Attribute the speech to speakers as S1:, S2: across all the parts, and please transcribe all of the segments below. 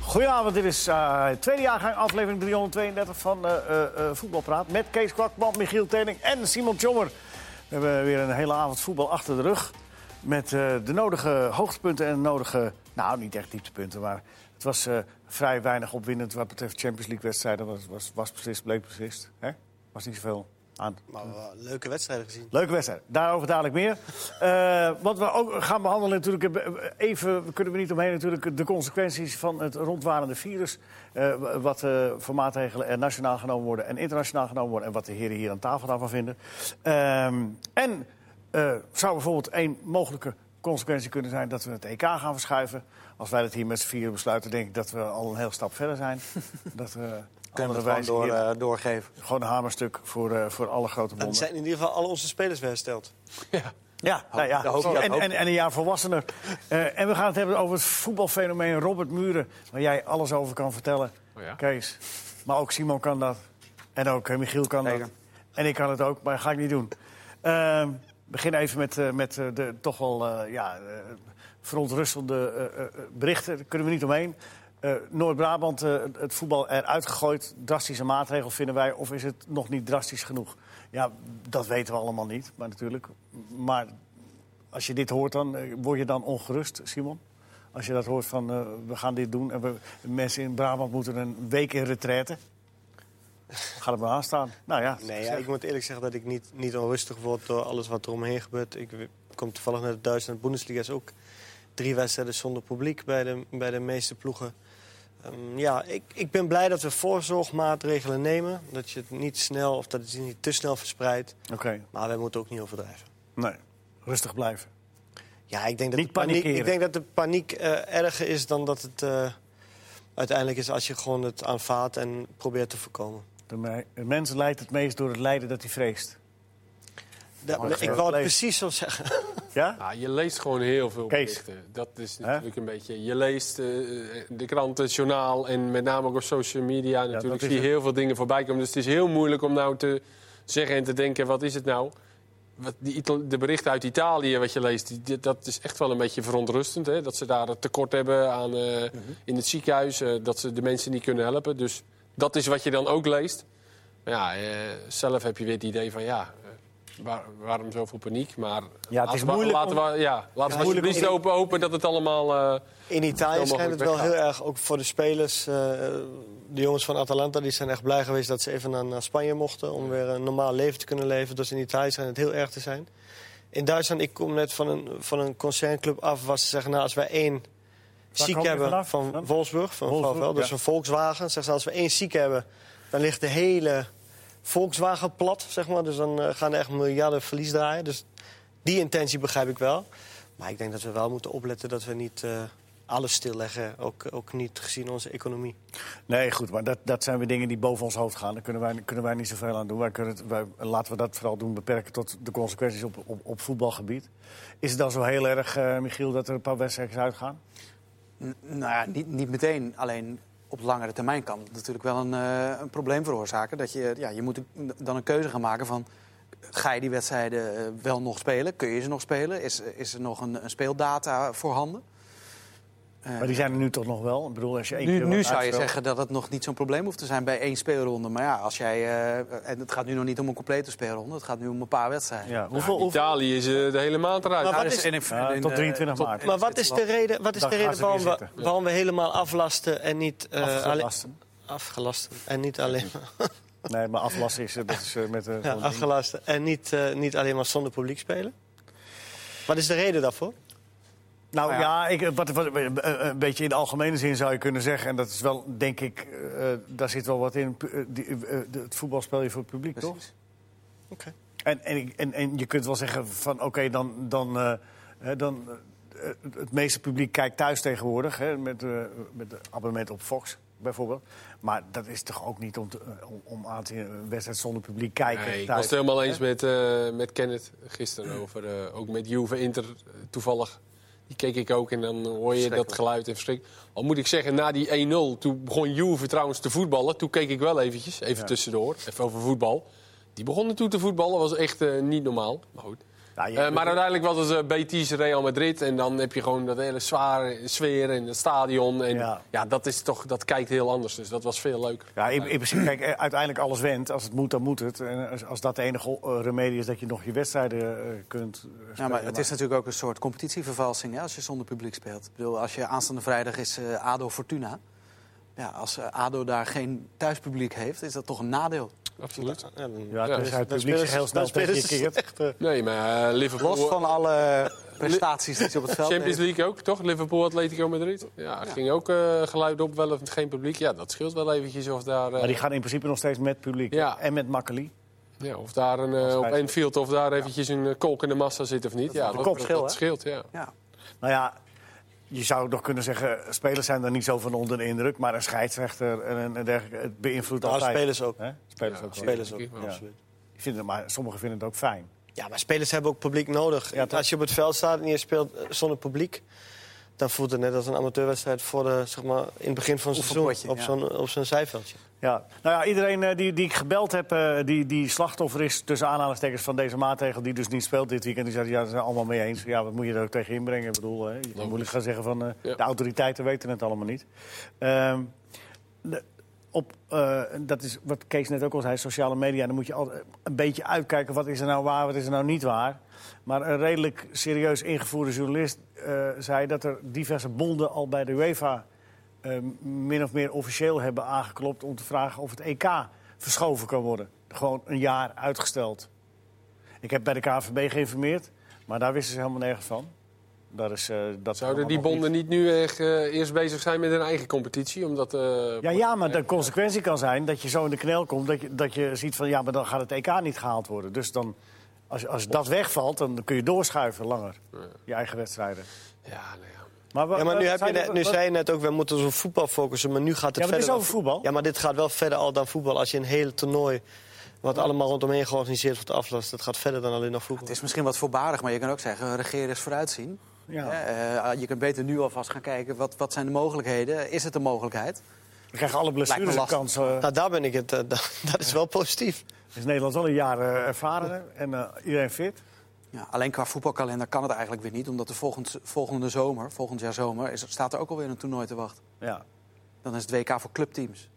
S1: Goedenavond, dit is eh tweede jaargang, aflevering 332 van eh eh, eh, Voetbalpraat. Met Kees Kwakman, Michiel Tening en Simon Tjommer. We hebben weer een hele avond voetbal achter de rug. Met eh, de nodige hoogtepunten en de nodige, nou niet echt dieptepunten, maar het was eh, vrij weinig opwindend wat betreft Champions League-wedstrijden. Was, was, was beslist, bleek beslist. Hè? Was niet zoveel aan
S2: Maar we hebben leuke wedstrijden gezien.
S1: Leuke wedstrijd. Daarover dadelijk meer. Eh, wat we ook gaan behandelen natuurlijk... eh, even kunnen we niet omheen natuurlijk... de consequenties van het rondwarende virus. Eh, wat eh, voor maatregelen er nationaal genomen worden... en internationaal genomen worden. En wat de heren hier aan tafel daarvan vinden. Ehm, en eh, zou bijvoorbeeld één mogelijke consequentie kunnen zijn... dat we het EK gaan verschuiven. Als wij dat hier met z'n vieren besluiten... denk ik dat we al een heel stap verder zijn. dat we...
S3: Kunnen we
S1: andere
S3: het gewoon
S1: wijze
S3: door,
S1: hier-
S3: eh, doorgeven.
S1: gewoon een hamerstuk voor, eh, voor alle grote
S2: En
S1: bonden.
S2: zijn in ieder geval alle onze spelers weer hersteld.
S1: Ja, nou ja.
S3: daar hoop ik-
S1: en,
S3: hoop ik.
S1: en, en een jaar volwassener. Eh, en we gaan het hebben over het voetbalfenomeen Robert Muren. Waar jij alles over kan vertellen,
S4: Oh ja?
S1: Kees. Maar ook Simon kan dat. En ook eh, Michiel kan dat.
S3: Zeker.
S1: En ik kan het ook, maar dat ga ik niet doen. Ehm begin even met, eh, met eh, de toch wel eh, ja, eh, verontrustende eh, eh, berichten. Daar kunnen we niet omheen. Eh, Noord-Brabant, eh, het voetbal eruit gegooid. Drastische maatregel vinden wij. Of is het nog niet drastisch genoeg? Ja, dat weten we allemaal niet, maar natuurlijk. Maar als je dit hoort, dan eh, word je dan ongerust, Simon? Als je dat hoort van eh, we gaan dit doen en we, mensen in Brabant moeten een week in retraite. Gaat het maar aanstaan? Nou ja,
S2: Nee, ja, ik moet eerlijk zeggen dat ik niet, niet onrustig word door alles wat er omheen gebeurt. Ik w- kom toevallig naar de Duitsland. De Bundesliga is ook drie wedstrijden zonder publiek bij de, bij de meeste ploegen. Ehm, ja, ik, ik ben blij dat we voorzorgmaatregelen nemen. Dat je het niet snel of dat het je niet te snel verspreidt.
S1: oké.
S2: Maar we moeten ook niet overdrijven.
S1: Nee, rustig blijven.
S2: Ja, ik denk dat,
S1: Niet
S2: de, paniek,
S1: panikeren.
S2: ik denk dat de paniek eh, erger is dan dat het eh, uiteindelijk is als je gewoon het aanvaardt en probeert te voorkomen.
S1: De, me- de mens leidt het meest door het lijden dat hij vreest.
S2: Da-
S1: Maar dat
S2: ik
S1: is
S2: wou het
S1: leeg.
S2: precies zo zeggen.
S1: Ja?
S4: Ja, je leest gewoon heel veel
S1: Kees.
S4: berichten. Dat is
S1: Hè?
S4: natuurlijk een beetje. Je leest eh, de kranten, het journaal en met name ook op social media.
S1: dat
S4: natuurlijk zie
S1: is
S4: je heel veel dingen voorbij komen. Dus het is heel moeilijk om nou te zeggen en te denken: wat is het nou? Wat die, Ita- de berichten uit Italië, wat je leest, die- die- dat is echt wel een beetje verontrustend. Hè? Dat ze daar een tekort hebben aan, eh, in het ziekenhuis, eh, dat ze de mensen niet kunnen helpen. Dus dat is wat je dan ook leest. Maar ja, eh, zelf heb je weer het idee van ja, eh, waar- waarom zoveel paniek? Maar
S1: Ja, het is
S4: laten we-
S1: moeilijk
S4: laten we- ja, laten we
S1: moeilijk
S4: alsjeblieft
S1: om-
S4: open hopen dat het allemaal... eh,
S2: In
S4: Zo
S2: Italië schijnt het
S4: mogelijk
S2: wel heel
S4: weggaan.
S2: erg, ook voor de spelers. eh, de jongens van Atalanta die zijn echt blij geweest dat ze even naar, naar Spanje mochten... om weer een normaal leven te kunnen leven. Dus in Italië schijnt het heel erg te zijn. In Duitsland, ik kom net van een, van een concernclub af... waar ze zeggen, nou, als wij één ziek
S1: kom je
S2: hebben
S1: vanaf
S2: van
S1: dan?
S2: Wolfsburg, van
S1: Wolfsburg,
S2: VfL, dus
S1: ja.
S2: een Volkswagen... zeggen ze, als we één ziek hebben, dan ligt de hele Volkswagen plat, zeg maar. Dus dan eh, gaan er echt miljarden verlies draaien. Dus die intentie begrijp ik wel. Maar ik denk dat we wel moeten opletten dat we niet eh, alles stilleggen. Ook, ook niet gezien onze economie.
S1: Nee, goed, maar dat, dat zijn weer dingen die boven ons hoofd gaan. Daar kunnen wij, kunnen wij niet zoveel aan doen. Wij kunnen het, wij, laten we dat vooral doen beperken tot de consequenties op, op, op voetbalgebied. Is het dan zo heel erg, eh, Michiel, dat er een paar wedstrijden uitgaan?
S3: N- nou ja, niet, niet meteen. Alleen op langere termijn kan het natuurlijk wel een, eh, een probleem veroorzaken. Dat je, ja, je moet een- dan een keuze gaan maken van... ga je die wedstrijden eh, wel nog spelen? Kun je ze nog spelen? Is, is er nog een, een speeldata voorhanden? Eh,
S1: Maar die zijn er nu toch nog wel? Ik bedoel, als je één
S3: nu
S1: keer
S3: nu
S1: wat
S3: zou je
S1: uitstelt-
S3: zeggen dat het nog niet zo'n probleem hoeft te zijn bij één speelronde. Maar ja, als jij, eh, en het gaat nu nog niet om een complete speelronde. Het gaat nu om een paar wedstrijden.
S1: Ja,
S4: nou,
S1: hoeveel, hoeveel-
S4: Italië is eh, de hele maand eruit.
S2: Maar
S3: Nou,
S2: wat is-
S3: dus in- in-
S1: Ja,
S3: in,
S1: tot
S3: eh,
S1: 23 maart.
S2: Maar wat is de reden, wat is
S1: Dan
S2: de
S1: gaan
S2: reden
S1: ze weer
S2: waarom, we,
S1: zitten.
S2: waarom we helemaal aflasten en niet... eh, alleen,
S1: Afgelasten?
S2: afgelasten. En niet alleen maar,
S1: Nee, maar aflasten is, eh, dat is eh, met... eh,
S2: ja,
S1: zo'n ding.
S2: afgelasten en niet, eh, niet alleen maar zonder publiek spelen? Wat is de reden daarvoor?
S1: Nou ja,
S3: Nou
S1: ik, wat, wat- een- een beetje in de algemene zin zou je kunnen zeggen... en dat is wel, denk ik, eh, daar zit wel wat in... pu- eh, die, eh, de- het voetbal speel je voor het publiek, toch?
S3: Precies.
S2: Oké.
S1: En, en, ik- en, en je kunt wel zeggen van oké, dan... dan, eh, hè, dan eh, het meeste publiek kijkt thuis tegenwoordig, hè, met, eh met een abonnement op Fox bijvoorbeeld. Maar dat is toch ook niet om, te, eh, om, om aan te zien, een wedstrijd zonder publiek kijken
S4: Nee, ik was
S1: thuis.
S4: het helemaal eens met, eh, met Kenneth gisteren over. eh, ook met Juve Inter eh, toevallig. Die keek ik ook en dan hoor je dat geluid en verschrik. Al moet ik zeggen, na die 1-0, toen begon Juve trouwens te voetballen. Toen keek ik wel eventjes, even tussendoor, even over voetbal. Die begonnen toen te voetballen, was echt eh, niet normaal. Maar goed.
S1: Ja, je-
S4: Eh, maar uiteindelijk was het eh, Betis, Real Madrid. En dan heb je gewoon dat hele zware sfeer in het stadion. En
S1: Ja.
S4: ja, dat, is toch, dat kijkt heel anders. Dus dat was veel leuker.
S1: Ja, in, in principe, kijk, eh, uiteindelijk alles went. Als het moet, dan moet het. En als, als dat de enige eh, remedie is dat je nog je wedstrijden eh, kunt eh,
S3: Ja,
S1: spelen,
S3: maar het is natuurlijk ook een soort competitievervalsing hè, als je zonder publiek speelt. Ik bedoel, als je aanstaande vrijdag is eh, ADO Fortuna. Ja, als eh, ADO daar geen thuispubliek heeft, is dat toch een nadeel.
S4: Absoluut.
S2: Ja, dan-
S1: Ja,
S4: Ja,
S1: het is
S2: dan
S1: uit het publiek
S2: spelen
S1: zich
S2: ze-
S1: heel snel
S2: dan spelen
S1: tegen je
S2: ze
S1: keert.
S2: echt, eh,
S4: Nee, maar eh, Liverpool...
S3: Los van alle prestaties die ze op het veld
S4: Champions
S3: hebben.
S4: League ook, toch? Liverpool, Atletico Madrid. Ja, ging ook eh, geluid op, wel of geen publiek. Ja, dat scheelt wel eventjes of daar... eh,
S1: Maar die gaan in principe nog steeds met publiek.
S4: Ja.
S1: En met Makkeli.
S4: Ja, of daar een, eh, op
S1: schrijft-
S4: Enfield of daar eventjes een eh, kolkende massa zit of niet. Ja,
S1: een
S4: dat, dat,
S1: kopverschil, hè?
S4: scheelt, ja.
S3: Ja.
S1: Nou ja, je zou nog kunnen zeggen... spelers zijn daar niet zo van onder de indruk... maar een scheidsrechter en, en, en dergelijke... het beïnvloedt
S2: Nou,
S1: altijd.
S2: spelers ook.
S1: Hè? Spelers
S4: Ja,
S1: ook. wel.
S2: Spelers ook,
S4: denk ik
S1: wel.
S2: absoluut.
S1: Ik vind het, maar sommigen vinden het ook fijn.
S2: Ja, maar spelers hebben ook publiek nodig.
S1: Ja, toch?
S2: Als je op het veld staat en je speelt eh, zonder publiek... dan voelt het net als een amateurwedstrijd voor de, zeg maar, in het begin van het
S3: Oefenpotje,
S2: seizoen. Op
S3: ja.
S2: zo'n, op zo'n zijveldje.
S1: Ja. Nou ja, iedereen eh, die, die ik gebeld heb, eh, die, die slachtoffer is tussen aanhalingstekens van deze maatregel, die dus niet speelt dit weekend, die zei, ja, dat zijn allemaal mee eens. Ja, wat moet je er ook tegen inbrengen? Ik bedoel, hè, je kan moeilijk gaan zeggen van eh,
S4: Ja.
S1: de autoriteiten weten het allemaal niet. Ehm, de- op, eh, dat is wat Kees net ook al zei, sociale media. Dan moet je altijd een beetje uitkijken wat is er nou waar, wat is er nou niet waar. Maar een redelijk serieus ingevoerde journalist eh, zei dat er diverse bonden al bij de UEFA eh, min of meer officieel hebben aangeklopt om te vragen of het EK verschoven kan worden. Gewoon een jaar uitgesteld. Ik heb bij de KVB geïnformeerd, maar daar wisten ze helemaal nergens van. Daar is, eh, dat
S4: Zouden die
S1: allemaal nog
S4: bonden niet nu echt, eh, eerst bezig zijn met hun eigen competitie? Omdat, eh,
S1: Ja, ja, maar de consequentie kan zijn dat je zo in de knel komt... dat je, dat je ziet van, ja, maar dan gaat het EK niet gehaald worden. Dus dan, als, als dat wegvalt, dan kun je doorschuiven langer. Je eigen wedstrijden.
S4: Ja, nou ja.
S1: Maar, wa-
S2: Ja, maar nu,
S1: eh,
S2: heb je
S1: zei
S2: net, nu zei je net ook, we moeten ons op voetbal focussen. Maar nu gaat
S1: Ja,
S2: het
S1: maar het
S2: verder.
S1: is
S2: dan
S1: over voetbal.
S2: Ja, maar dit gaat wel verder al dan voetbal. Als je een hele toernooi, wat allemaal rondomheen georganiseerd wordt, aflast. Dat gaat verder dan alleen nog voetbal.
S3: Het is misschien wat voorbarig, maar je kan ook zeggen, regeer eens vooruitzien.
S1: Ja.
S3: Eh, eh, je kunt beter nu alvast gaan kijken, wat, wat zijn de mogelijkheden? Is het een mogelijkheid?
S1: We krijgen alle blessures een
S3: lastig.
S1: kans. eh,
S2: Nou, daar ben ik het. eh, da- dat is wel positief.
S1: is Nederland wel een jaar eh, ervaren hè? en eh, iedereen fit.
S3: Ja, alleen qua voetbalkalender kan het eigenlijk weer niet. Omdat de volgend, volgende zomer, volgend jaar zomer, is, staat er ook alweer een toernooi te wachten.
S1: Ja.
S3: Dan is het WK voor clubteams.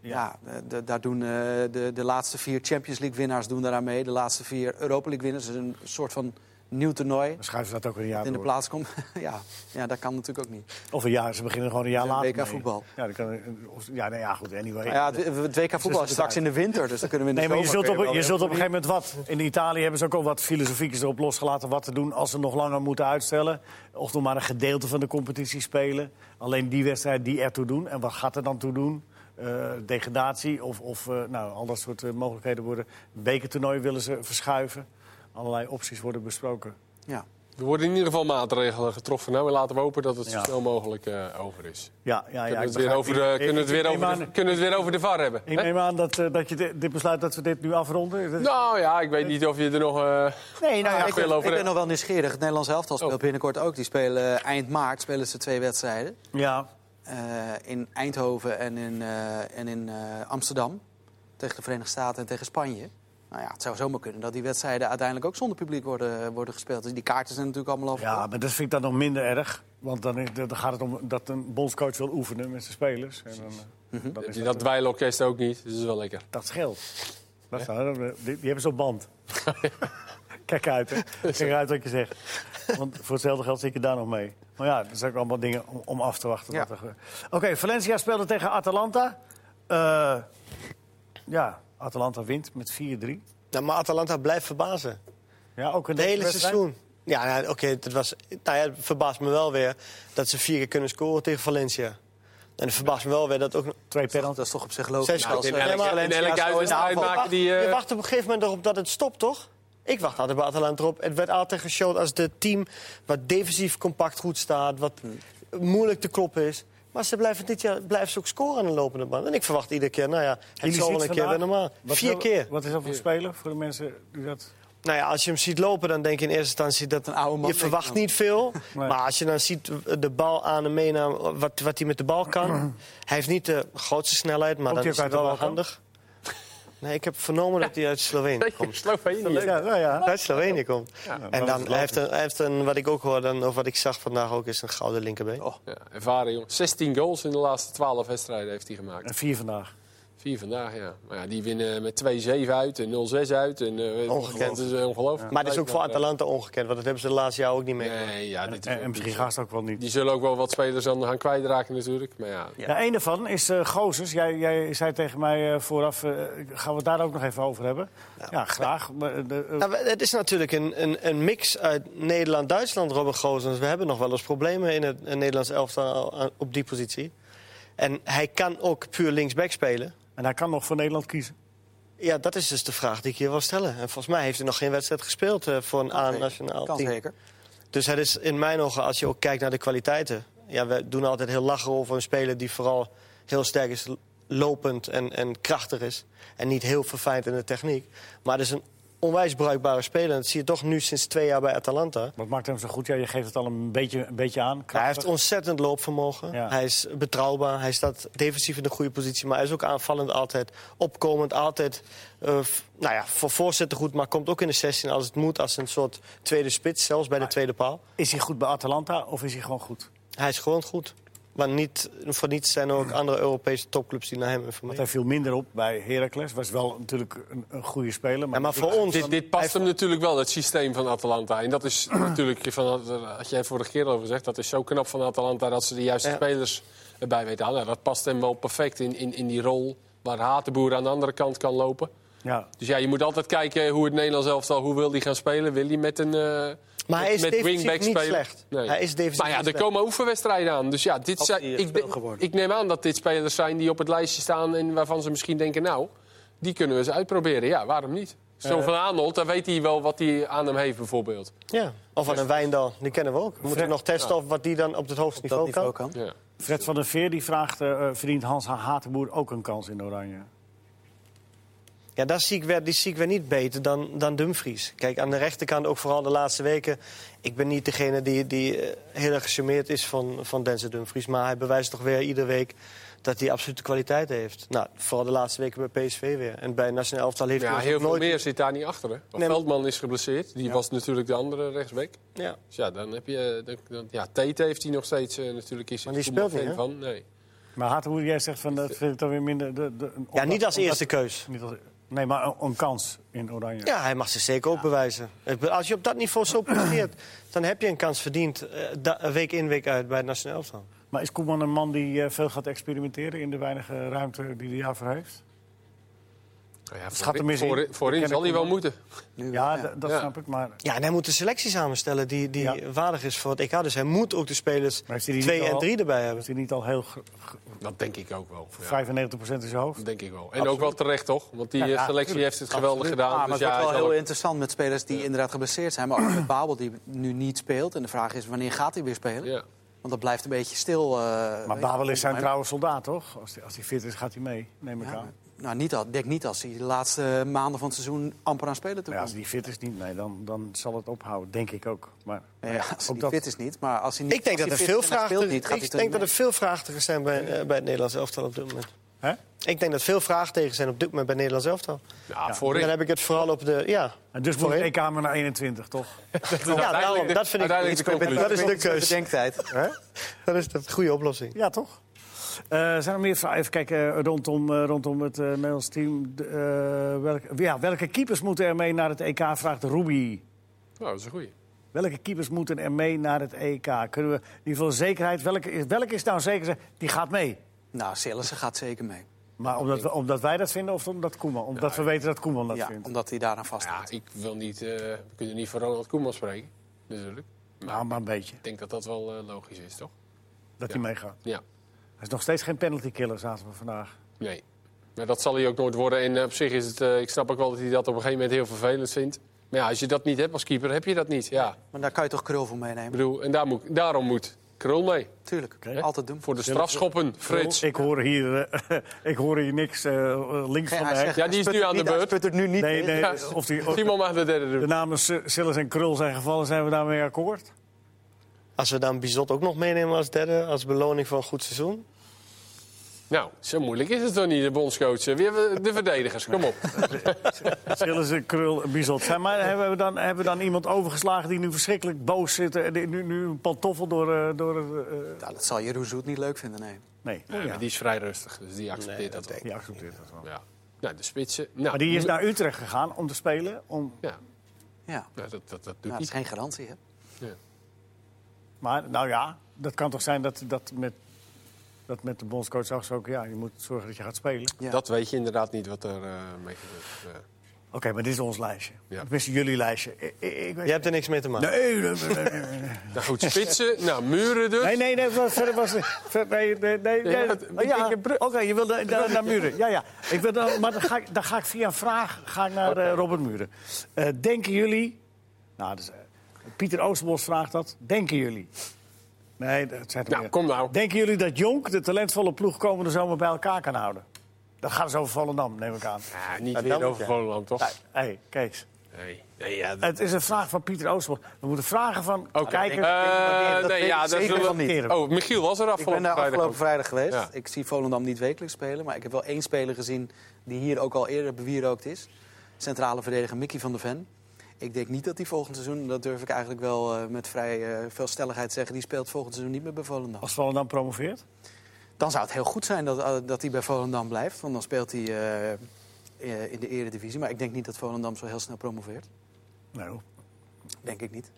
S3: Ja, eh, de- daar doen eh, de, de laatste vier Champions League winnaars doen daaraan mee. De laatste vier Europa League winnaars. Dus een soort van nieuw toernooi.
S1: Dan schuiven ze dat ook weer een jaar
S3: dat in de
S1: door.
S3: plaats komt. ja, ja, dat kan natuurlijk ook niet.
S1: Of een jaar, ze beginnen gewoon een jaar
S3: Een
S1: later.
S3: WK
S1: mee.
S3: voetbal.
S1: Ja, dan kan, eh, of- ja, nee, ja, goed, anyway.
S3: Maar ja, het, het WK voetbal is straks in de winter, dus dan kunnen we in de
S1: Dus Nee, maar je
S3: zomer
S1: zult, op,
S3: kun
S1: je
S3: wel
S1: zult
S3: weer-
S1: op een gegeven moment wat. In Italië hebben ze ook al wat filosofiekjes erop losgelaten... wat te doen als ze nog langer moeten uitstellen. Of nog maar een gedeelte van de competitie spelen. Alleen die wedstrijd die ertoe doen. En wat gaat er dan toe doen? Eh, degradatie of, of eh, nou, al dat soort eh, mogelijkheden worden. Bekertoernooi willen ze verschuiven. Allerlei opties worden besproken.
S3: Ja.
S4: Er worden in ieder geval maatregelen getroffen. Nou, en laten we hopen dat het zo
S1: Ja.
S4: snel mogelijk eh, over is.
S1: Ja, ja, Nou ja.
S4: Kunnen we
S1: ik
S4: het weer
S1: begrijp-
S4: over de-
S1: ik-
S4: kunnen we het
S1: ik-
S4: weer
S1: ik neem
S4: over de-
S1: aan-
S4: kunnen we het weer over de VAR hebben?
S1: Ik
S4: hè?
S1: neem aan dat, eh, dat je dit, dit besluit dat we dit nu afronden. Dat-
S4: Nou ja, ik weet niet of je er nog... eh,
S1: nee, nou ja,
S4: ik
S3: Ik,
S1: goed.
S4: wil
S3: ben,
S4: over-
S3: ik ben nog wel nieuwsgierig. Het Nederlands elftal speelt
S4: Oh.
S3: binnenkort ook. Die spelen eh, eind maart spelen ze twee wedstrijden.
S1: Ja,
S3: Eh, in Eindhoven en in, eh, en in eh, Amsterdam. Tegen de Verenigde Staten en tegen Spanje. Nou ja, het zou zomaar kunnen dat die wedstrijden uiteindelijk ook zonder publiek worden, worden gespeeld. Dus die kaarten zijn natuurlijk allemaal over.
S1: Ja, maar dat vind ik dan nog minder erg. Want dan, is- dan gaat het om dat een bondscoach wil oefenen met zijn spelers. En dan, eh,
S2: Mhm.
S1: dan is
S4: dat dweilorkest ook niet, dus dat is wel lekker.
S1: dat scheelt. Dat is nou- die, die hebben zo'n band. Kijk uit, hè. Kijk uit wat je zegt. Want voor hetzelfde geld zit je daar nog mee. Maar ja, er zijn ook allemaal dingen om, om af te wachten.
S3: Ja.
S1: wat er gebeurt. Oké, Valencia speelde tegen Atalanta. Eh, ja, Atalanta wint met 4-3.
S2: Nou, maar Atalanta blijft verbazen.
S1: Ja, ook een
S2: Het hele seizoen. Ja, nou, oké, dat was. Nou ja, het verbaast me wel weer dat ze vier keer kunnen scoren tegen Valencia. En het verbaast me wel weer dat ook. nog-
S1: Twee
S3: Dat
S1: penalty.
S3: is toch op zich logisch.
S2: Zes-
S3: als,
S4: In
S3: eh,
S2: Ja, maar
S4: elke, in elke
S2: Valencia is
S4: uitwedstrijd
S2: Nou,
S4: maken die...
S2: wacht-
S4: eh,
S2: Je wacht op een gegeven moment erop dat het stopt, toch? Ik wacht altijd bij Atalanta erop. Het werd altijd geshowd als het team wat defensief compact goed staat, wat
S4: Hmm.
S2: moeilijk te kloppen is. Maar ze blijven dit jaar blijven ze ook scoren aan de lopende band. En ik verwacht iedere keer, nou ja, het
S1: Jullie
S2: zal wel
S1: ziet
S2: een keer weer
S1: vandaag-
S2: normaal.
S1: Wat
S2: Vier
S1: is dat-
S2: keer.
S1: Wat is dat voor een speler voor de mensen die dat...
S2: Nou ja, als je hem ziet lopen, dan denk je in eerste instantie dat
S3: Een oude man,
S2: je verwacht
S3: denk ik
S2: niet veel.
S1: Nee.
S2: Maar als je dan ziet eh, de bal aan hem meenam, wat, wat hij met de bal kan. hij heeft niet de grootste snelheid, maar
S1: Komt
S2: dan
S1: hij ook uit
S2: is hij wel
S1: de
S2: wel
S1: bal dan?
S2: handig. Nee, ik heb vernomen dat hij uit Slovenië komt.
S4: Slovenië.
S1: Ja, nou ja.
S2: Uit Slovenië komt.
S4: Ja.
S2: En dan, hij heeft, een, hij heeft een, wat ik ook hoorde, en- of wat ik zag vandaag ook, is een gouden linkerbeen.
S4: Ja, ervaren jongen. 16 goals in de laatste 12 wedstrijden heeft hij gemaakt.
S1: En vier vandaag.
S4: Vier vandaag, ja. Maar ja, die winnen met 2-7 uit en 0-6 uit. En, eh,
S2: Ongelooflijk.
S4: Dat is eh, ongelooflijk.
S2: Maar het is ook voor Atalanta ongekend, want dat hebben ze de laatste jaar ook niet meer.
S4: Nee, ja,
S1: En,
S4: dit
S1: en misschien gaan ze het ook wel niet.
S2: Dus,
S4: Die zullen ook wel wat spelers aan gaan kwijtraken natuurlijk. Maar ja,
S1: Ja. een daarvan is eh Gozes. Jij, jij zei tegen mij eh, vooraf, eh, gaan we het daar ook nog even over hebben? Ja, graag. Maar, eh, de- eh,
S2: Nou, we- het is natuurlijk een, een, een mix uit Nederland-Duitsland, Robert Gozens. We hebben nog wel eens problemen in het in het Nederlands elftal aan- op die positie. En hij kan ook puur linksback spelen.
S1: en hij kan nog voor Nederland kiezen.
S2: Ja, dat is dus de vraag die ik hier wil stellen. En volgens mij heeft hij nog geen wedstrijd gespeeld eh, voor een A-nationaal
S3: Kan
S2: team.
S3: zeker.
S2: Dus het is in mijn ogen, als je ook kijkt naar de kwaliteiten. Ja, we doen altijd heel lachen over een speler die vooral heel sterk is lopend en, en krachtig is. En niet heel verfijnd in de techniek. Maar het is een onwijs bruikbare speler. En dat zie je toch nu sinds twee jaar bij Atalanta.
S1: Wat maakt hem zo goed? Ja, je geeft het al een beetje, een beetje aan.
S2: Nou, Hij
S1: Krachtig.
S2: heeft ontzettend loopvermogen.
S1: Ja.
S2: Hij is betrouwbaar. Hij staat defensief in de goede positie. Maar hij is ook aanvallend altijd. Opkomend altijd. eh, f- nou ja, voor voorzetten goed. Maar komt ook in de 16 als het moet. Als een soort tweede spits. Zelfs bij de tweede paal.
S1: Is hij goed bij Atalanta of is hij gewoon goed?
S2: Hij is gewoon goed. Maar niet, voor niets zijn er ook andere Europese topclubs die naar hem
S1: Want
S2: informeren.
S1: hij viel minder op bij Heracles. Was wel natuurlijk een, een goede speler. Maar,
S2: Ja, maar voor ons,
S4: Dit, dit past hem natuurlijk wel, het systeem van Atalanta. En dat is natuurlijk, van, daar had jij vorige keer al gezegd, dat is zo knap van Atalanta dat ze de juiste
S2: Ja.
S4: spelers erbij weten halen. Nou, dat past hem wel perfect in, in, in die rol waar Hatenboer aan de andere kant kan lopen.
S1: Ja,
S4: Dus ja, je moet altijd kijken hoe het Nederlands elftal, hoe wil die gaan spelen? Wil hij met een eh,
S2: Maar hij
S4: met-
S2: is
S4: met
S2: defensief
S4: wingback
S2: niet slecht.
S4: Nee.
S2: Hij is defensief
S4: maar ja,
S2: niet
S4: er
S2: slecht.
S4: komen oefenwedstrijden aan. Dus ja, dit
S3: Had
S4: zijn,
S3: hij het
S4: ik,
S3: spel
S4: denk-
S3: geworden?
S4: ik neem aan dat dit spelers zijn die op het lijstje staan en waarvan ze misschien denken, nou, die kunnen we eens uitproberen. Ja, waarom niet? Zo'n
S2: Eh.
S4: Van Aanholt, dan weet hij wel wat hij aan hem heeft bijvoorbeeld.
S2: Ja. Of aan een Wijndal, die kennen we ook. We moeten
S1: Fred-
S2: nog testen of wat die dan op het hoogste
S3: Dat
S2: niveau
S3: niveau
S2: kan.
S3: kan.
S4: Ja.
S1: Fred van der Veer die vraagt, eh, eh, verdient Hans Hatenboer ook een kans in Oranje?
S2: Ja, daar zie ik weer, die zie ik weer niet beter dan, dan Dumfries. Kijk, aan de rechterkant ook vooral de laatste weken. Ik ben niet degene die, die eh, heel erg gecharmeerd is van, van Denzel Dumfries. Maar hij bewijst toch weer iedere week dat hij absolute kwaliteit heeft. Nou, vooral de laatste weken bij PSV weer. En bij Nationaal Elftal heeft
S4: Ja,
S2: hij
S4: heel
S2: ons ook
S4: veel
S2: nooit...
S4: meer zit daar niet achter. Hè? Want
S2: Nee, maar-
S4: Veldman is geblesseerd, die was natuurlijk de andere rechtsback.
S2: Ja.
S4: Dus ja, dan heb je... Dan, dan- ja, Tete heeft hij nog steeds eh, natuurlijk... Is
S2: Maar die
S4: een voetbalfan
S2: speelt niet, hè?
S4: van. Nee.
S1: Maar Hatenboer, jij zegt van, dat vind ik dan weer minder... De, de,
S2: ja,
S1: omdat-
S2: niet als
S1: omdat-
S2: eerste keus.
S1: niet als- nee, maar een, een kans in Oranje.
S2: Ja, hij mag zich zeker ook bewijzen. Ik bedoel, Als je op dat niveau zo presteert, dan heb je een kans verdiend. eh, da- Week in, week uit bij het Nationaal Elftal.
S1: Maar is Koeman een man die eh, veel gaat experimenteren in de weinige ruimte die hij daarvoor heeft?
S4: Nou ja,
S1: gaat er mis in.
S4: voorin- voorin
S1: Ken
S4: zal
S1: ik
S4: hij wel
S1: hem.
S4: moeten.
S3: Nu,
S1: Ja, d- dat
S4: Ja.
S1: snap ik. Maar
S2: Ja, en hij moet een selectie samenstellen die, die
S1: Ja.
S2: waardig is voor het EK. Dus hij moet ook de spelers
S1: Maar heeft hij die
S2: twee
S1: niet
S2: en
S1: al-
S2: drie erbij hebben.
S1: is hij niet al heel gr- gr-
S4: Dat denk ik ook wel. Ja,
S1: 95% in zijn hoofd?
S4: dat denk ik wel. En ook wel terecht, toch? Want die
S1: Ja, ja,
S4: eh, selectie
S1: tuurlijk.
S4: heeft het geweldig
S3: Absoluut.
S4: gedaan.
S3: Ah, maar
S4: dus ja,
S3: het wordt
S4: hij
S3: wel
S4: zal
S3: heel
S4: ook-
S3: interessant met spelers die inderdaad geblesseerd zijn. Maar ook met Babel, die nu niet speelt. En de vraag is, wanneer gaat hij weer spelen?
S4: ja.
S3: Want dat blijft een beetje stil. eh,
S1: Maar
S3: weet je.
S1: Babel is zijn
S3: Maar-
S1: trouwe soldaat, toch? Als hij, als hij fit is, gaat hij mee, neem ik
S3: Ja,
S1: aan.
S3: nou, niet al, denk niet als hij de laatste maanden van het seizoen amper aan spelen toe
S1: Maar ja,
S3: komt.
S1: als hij fit is niet, nee, dan, dan zal het ophouden, denk ik ook. Maar
S3: Nee, ja, als hij
S1: ook
S3: niet
S1: dat-
S3: fit is niet, maar als hij niet
S2: Ik denk
S3: als
S2: dat er
S3: hij fit
S2: veel
S3: is en hij speelt
S2: vraagtekens
S3: niet, gaat hij
S2: ik
S3: toch
S2: denk dat er
S3: niet
S2: veel vraagtekens zijn bij, eh, bij het Nederlands Elftal op dit moment.
S1: Hè?
S2: Ik denk dat veel vraagtekens zijn op dit moment bij het Nederlands Elftal.
S4: Ja,
S2: En dan
S4: voorin.
S2: heb ik het vooral op de... Ja,
S1: En dus moet
S2: Sorry?
S1: het EK maar naar 21, toch?
S2: ja daarom, dat vind ik...
S4: uiteindelijk de
S3: mee.
S4: conclusie.
S2: Dat is de keus.
S3: Bedenktijd.
S2: Dat is de goede oplossing.
S1: Ja, toch? Eh, zijn er meer vragen? Even kijken eh, rondom, eh, rondom het eh, Nederlands team. De, eh, welke, ja, welke keepers moeten er mee naar het EK, vraagt Ruby.
S4: Nou, dat is een goeie.
S1: Welke keepers moeten er mee naar het EK? Kunnen we in ieder geval zekerheid... Welke, is- welke is nou zeker? Die gaat mee.
S3: Nou, Sillissen gaat zeker mee.
S1: Maar omdat, we, omdat wij dat vinden of omdat Koeman? Omdat we weten dat Koeman dat
S3: ja,
S1: vindt.
S3: omdat hij daaraan vast
S4: Ja, ik wil niet... eh, we kunnen niet voor Ronald Koeman spreken, natuurlijk.
S1: Nou, maar een beetje.
S4: Ik denk dat dat wel eh, logisch is, toch?
S1: Dat
S4: Ja.
S1: hij meegaat.
S4: Ja.
S1: Hij is nog steeds geen penalty killer, zaten we vandaag.
S4: Nee. Maar dat zal hij ook nooit worden. En eh, op zich is het... eh, ik snap ook wel dat hij dat op een gegeven moment heel vervelend vindt. Maar ja, als je dat niet hebt als keeper, heb je dat niet. Ja,
S3: Maar daar kan je toch krul voor
S4: ik
S3: meenemen?
S4: bedoel... En daar moet, daarom moet Krul mee.
S3: Tuurlijk,
S1: Oké.
S3: altijd doen.
S4: Voor de strafschoppen, Frits.
S1: Ik hoor hier, eh, ik hoor hier niks eh, links
S3: Geen-
S1: van de hek.
S3: hij zegt-
S4: Ja, die is nu aan de beurt.
S3: het nu niet
S1: Nee, nee,
S4: Ja.
S1: of, die, of
S4: Simon mag de derde
S1: de
S4: doen.
S1: namen S- Sillis en Krul zijn gevallen, zijn we daarmee akkoord?
S2: Als we dan Bizot ook nog meenemen als derde, als beloning voor een goed seizoen...
S4: Nou, zo moeilijk is het toch niet, de bondscoach. Weer we- de verdedigers, kom op.
S1: Schillen ze krul bizot zijn. Maar hebben we, dan, hebben we dan iemand overgeslagen die nu verschrikkelijk boos zit... en die nu, nu een pantoffel door... eh, door eh, eh,
S3: Nou, dat zal Jeroen niet leuk vinden, nee.
S1: nee,
S4: Ja,
S1: ja.
S4: maar die is vrij rustig, dus die accepteert
S2: Nee,
S4: dat,
S2: dat denk
S4: wel.
S2: ik.
S1: die accepteert dat wel.
S4: Ja. Nou, de spitsen. Nou,
S1: Maar die is naar Utrecht gegaan om te spelen. Om,
S4: Ja,
S3: Ja,
S4: nou, dat, dat, dat doet
S3: nou, dat is
S4: niet.
S3: geen garantie, hè?
S4: Ja.
S1: maar nou ja, dat kan toch zijn dat, dat, met, dat met de bondscoach zag ze ook... ja, je moet zorgen dat je gaat spelen.
S3: Ja.
S4: Dat weet je inderdaad niet wat er eh, mee gebeurt. Ja.
S1: Oké, maar dit is ons lijstje.
S4: Ja.
S1: Tenminste, jullie lijstje. Ik, ik, ik weet...
S2: Jij hebt er niks mee te maken.
S1: Nee, nee, nee, nee, nee.
S4: Nou goed, spitsen. nou, muren dus.
S1: Nee, nee, nee, was, verder was ver- nee, nee, nee, nee.
S4: Ja, het-
S1: Oh, ja. Oké, je wilde naar, naar Muren. Ja, ja. Ik wil dan, maar dan ga, ik, dan ga ik via een vraag ga ik naar eh, Robert Muren. Eh, denken jullie... Nou, dus, eh, Pieter Oosterbos vraagt dat. Denken jullie... Nee, dat zijn er
S4: Nou,
S1: meer.
S4: kom nou.
S1: Denken jullie dat Jonk de talentvolle ploeg komende zomer bij elkaar kan houden? Dat gaat dus over Volendam, neem ik aan.
S4: Ja,
S2: Nou,
S4: niet
S2: dan
S4: weer
S2: moet
S4: over
S2: je.
S4: Volendam, toch?
S1: Hé, hey, Kees.
S4: Nee. nee ja, dat-
S1: Het is een vraag van Pieter Oosterbos. We moeten vragen van
S4: Oké.
S1: kijkers...
S4: Eh,
S3: dat
S4: nee,
S3: weet
S4: ja, dat
S3: ik zeker
S4: zullen
S3: van
S4: we-
S1: niet.
S4: Oh, Michiel was er
S3: Ik
S4: afgelopen
S3: ben daar
S4: vrijdag
S3: afgelopen
S4: ook.
S3: vrijdag geweest.
S4: Ja.
S3: Ik zie Volendam niet wekelijks spelen. Maar ik heb wel één speler gezien die hier ook al eerder bewierookt is. Centrale verdediger Mickey van der Ven. Ik denk niet dat hij volgend seizoen, dat durf ik eigenlijk wel eh, met vrij eh, veel stelligheid zeggen... die speelt volgend seizoen niet meer bij Volendam.
S1: Als Volendam promoveert?
S3: Dan zou het heel goed zijn dat, eh, dat hij bij Volendam blijft. Want dan speelt hij eh, eh, in de eredivisie. Maar ik denk niet dat Volendam zo heel snel promoveert.
S1: Nee, hoor.
S3: Denk ik niet.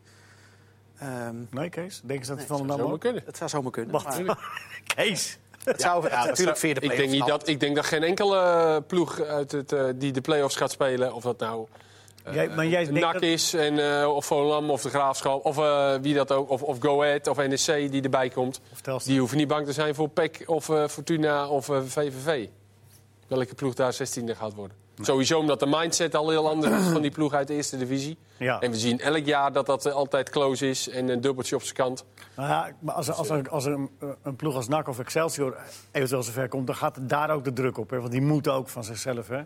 S3: Ehm,
S1: nee Kees. Denk je dat
S3: Nee,
S1: van Volendam
S4: Zou
S1: ook?
S4: maar kunnen.
S3: het zou zomaar kunnen.
S1: Wat?
S3: Maar
S1: Kees.
S3: het zou het- natuurlijk via
S4: ik
S3: de
S4: denk,
S3: play-offs
S4: niet dat, ik denk dat geen enkele ploeg uit het, eh, die de play-offs gaat spelen, of dat nou eh,
S1: Jij- maar jij denkt
S4: NAC
S1: dat-
S4: is, en, eh, of Volendam, of de Graafschap, of eh, wie dat ook, of, of Go Ahead, of NEC die erbij komt.
S1: Of Telstra.
S4: Die hoeven niet bang te zijn voor PEC, of eh, Fortuna, of eh, VVV. Welke ploeg daar 16e gaat worden. Sowieso omdat de mindset al heel anders is van die ploeg uit de eerste divisie.
S1: Ja.
S4: En we zien elk jaar dat dat eh, altijd close is en een dubbeltje op zijn kant.
S1: Nou ja, maar als, als, als, als een, eh, een ploeg als NAC of Excelsior eventueel zover komt, dan gaat daar ook de druk op. Hè? Want die moeten ook van zichzelf. Hè?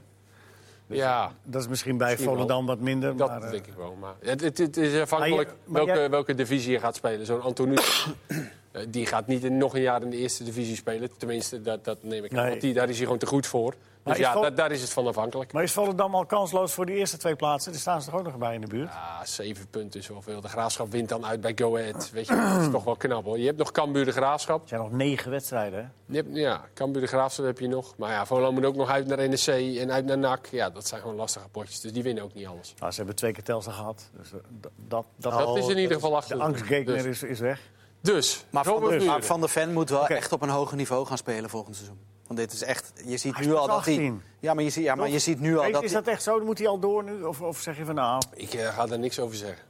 S4: ja,
S1: Dat is misschien bij
S4: Misschien wel.
S1: Volendam wat minder.
S4: Dat
S1: maar, eh,
S4: denk ik wel. Maar het, het, het is afhankelijk
S1: Maar je- maar
S4: welke,
S1: jij-
S4: welke divisie je gaat spelen. Zo'n Antonou, eh, die gaat niet in, nog een jaar in de eerste divisie spelen. Tenminste, dat, dat neem ik aan.
S1: Nee.
S4: Want die, daar is hij gewoon te goed voor.
S1: Maar
S4: Dus
S1: is
S4: ja,
S1: Vol-
S4: da- daar is het van afhankelijk.
S1: maar is Volendam al kansloos voor die eerste twee plaatsen? Daar staan ze toch ook nog bij in de buurt?
S4: Ja, Ah, zeven punten is wel veel. De Graafschap wint dan uit bij Go Ahead. Weet je, dat is toch wel knap hoor. Je hebt nog Cambuur de Graafschap.
S1: Er zijn nog negen wedstrijden. Hè?
S4: Je hebt, ja, Cambuur de Graafschap heb je nog. Maar ja, Volendam moet ook nog uit naar NEC en uit naar NAC. Ja, dat zijn gewoon lastige potjes. Dus die winnen ook niet alles.
S1: Nou, ze hebben twee keer Telstra gehad. Dus, eh, dat, Oh, dat,
S4: Nou, Dat is in ieder geval
S1: De
S4: achter.
S1: angstgekner
S4: Dus,
S1: is, is weg.
S4: dus
S3: Maar van,
S4: Robert
S3: der, maar
S4: Muren.
S3: Van der Ven moet wel
S1: Oké.
S3: echt op een hoger niveau gaan spelen volgend seizoen. Want dit is echt, je ziet
S1: Hij
S3: nu
S1: is
S3: al
S1: pas
S3: dat hij.
S1: 18.
S3: Ja, maar je, ziet- ja, maar je ziet nu al
S1: Kees,
S3: dat.
S1: is
S3: hij-
S1: dat echt zo? Dan Moet hij al door nu? Of, of zeg je van nou,
S4: Ik eh, ga daar niks over zeggen.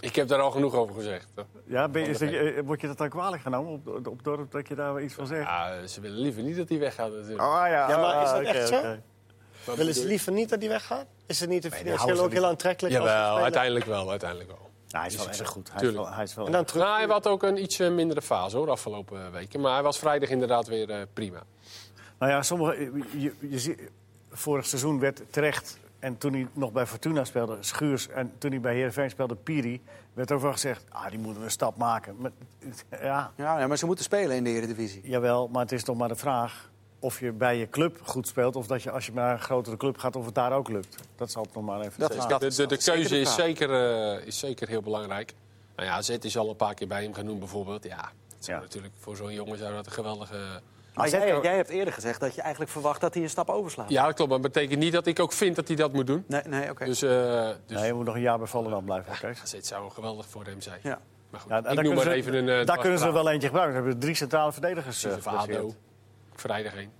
S4: Ik heb daar al genoeg over gezegd. hoor.
S1: ja, ben, je- is dat, eh, word je dat dan kwalijk genomen op, op dorp dat je daar wel iets van zegt?
S4: Ja, ze willen liever niet dat hij weggaat natuurlijk.
S1: Ah ja,
S2: Ja, maar is
S1: ah,
S2: dat
S1: oké,
S2: echt zo?
S1: oké.
S4: Dat
S2: Willen ze
S4: bedoel ik.
S2: liever niet dat die weggaat? Is het niet de
S1: die
S2: financieel
S1: houden
S2: ook
S1: ze
S2: heel aantrekkelijk? als ze
S4: Jawel,
S2: spelen?
S4: uiteindelijk wel, uiteindelijk wel.
S1: Nou, hij is wel erg goed. Hij is
S4: Tuurlijk.
S1: wel, hij is wel
S2: En dan terug.
S4: Nou, hij had ook een iets eh, mindere fase hoor, afgelopen eh, weken. Maar hij was vrijdag inderdaad weer eh, prima.
S1: Nou ja, sommige, je, je, ziet- vorig seizoen werd terecht, en toen hij nog bij Fortuna speelde, Schuurs... en toen hij bij Heerenveen speelde, Piri, werd ook wel gezegd... ah, die moeten we een stap maken. Maar, ja,
S3: Ja, ja, maar ze moeten spelen in de Eredivisie.
S1: jawel, maar het is nog maar de vraag of je bij je club goed speelt... of dat je als je naar een grotere club gaat, of het daar ook lukt. Dat zal het nog maar even
S3: Dat
S1: zeggen.
S3: dat
S4: de, de, de
S3: is zeker
S4: keuze
S3: de
S4: is
S3: vraag.
S4: zeker, eh, is zeker heel belangrijk. Nou ja, Zet is al een paar keer bij hem genoemd bijvoorbeeld. Ja, dat zou
S1: Ja.
S4: natuurlijk voor zo'n jongen zou dat een geweldige...
S3: Maar
S1: Zet
S3: jij,
S1: kan-
S3: jij hebt eerder gezegd dat je eigenlijk verwacht dat hij een stap overslaat.
S4: Ja, dat klopt. Maar dat betekent niet dat ik ook vind dat hij dat moet doen.
S3: Nee, nee oké.
S4: Dus, eh dus
S1: Nee, je moet nog een jaar bij Volendam blijven, oké?
S4: Zet Dus zou geweldig voor hem zijn.
S3: ja.
S4: Maar goed,
S1: Ja, daar
S4: ik noem
S1: kunnen
S4: maar
S1: ze-
S4: even een... eh,
S1: Daar kunnen ze
S4: dwarsstraat.
S1: er wel eentje gebruiken. Ze hebben drie centrale verdedigers eh,
S4: Precies, of ADO.
S1: geblesseerd.
S4: Vrijdag heen.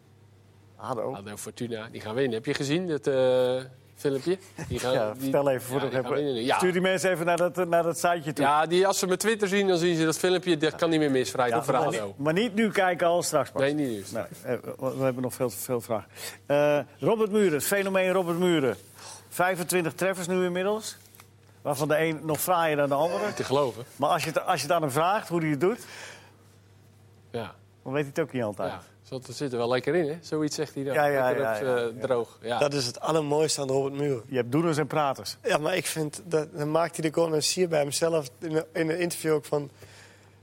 S1: ADO.
S4: ADO Fortuna, die gaan winnen. Heb je gezien dat eh, filmpje? Die gaan,
S1: Ja,
S4: die-
S1: vertel even voor
S4: ja,
S1: de
S4: die gaan winnen. Ja.
S1: Stuur die mensen even naar dat, eh, naar dat siteje toe.
S4: ja, die, als ze mijn Twitter zien, dan zien ze dat filmpje. Dat kan niet meer mis, vrijdag voor
S1: maar,
S4: ADO.
S1: niet, maar niet nu kijken, al straks pas.
S4: Nee, niet dus.
S1: Nee, eh, we we hebben nog veel, veel vragen. Eh, Robert Muren, het fenomeen Robert Muren. 25 treffers nu inmiddels. Waarvan de een nog fraaier dan de andere.
S4: Te geloven.
S1: Maar als je, het- als je het aan hem vraagt hoe hij het doet,
S4: Ja.
S1: dan weet hij het ook niet altijd.
S4: ja. Zat- Dat zit er wel lekker in, hè? Zoiets zegt hij dan.
S1: Ja, ja,
S4: Lekker
S1: ja,
S4: op,
S1: ja,
S4: eh, droog. Ja.
S2: Dat is het allermooiste aan Robert Muren.
S1: Je hebt doeners en praters.
S2: Ja, maar ik vind, dat, dan maakt hij de connoisseur bij hemzelf in, in een interview ook van...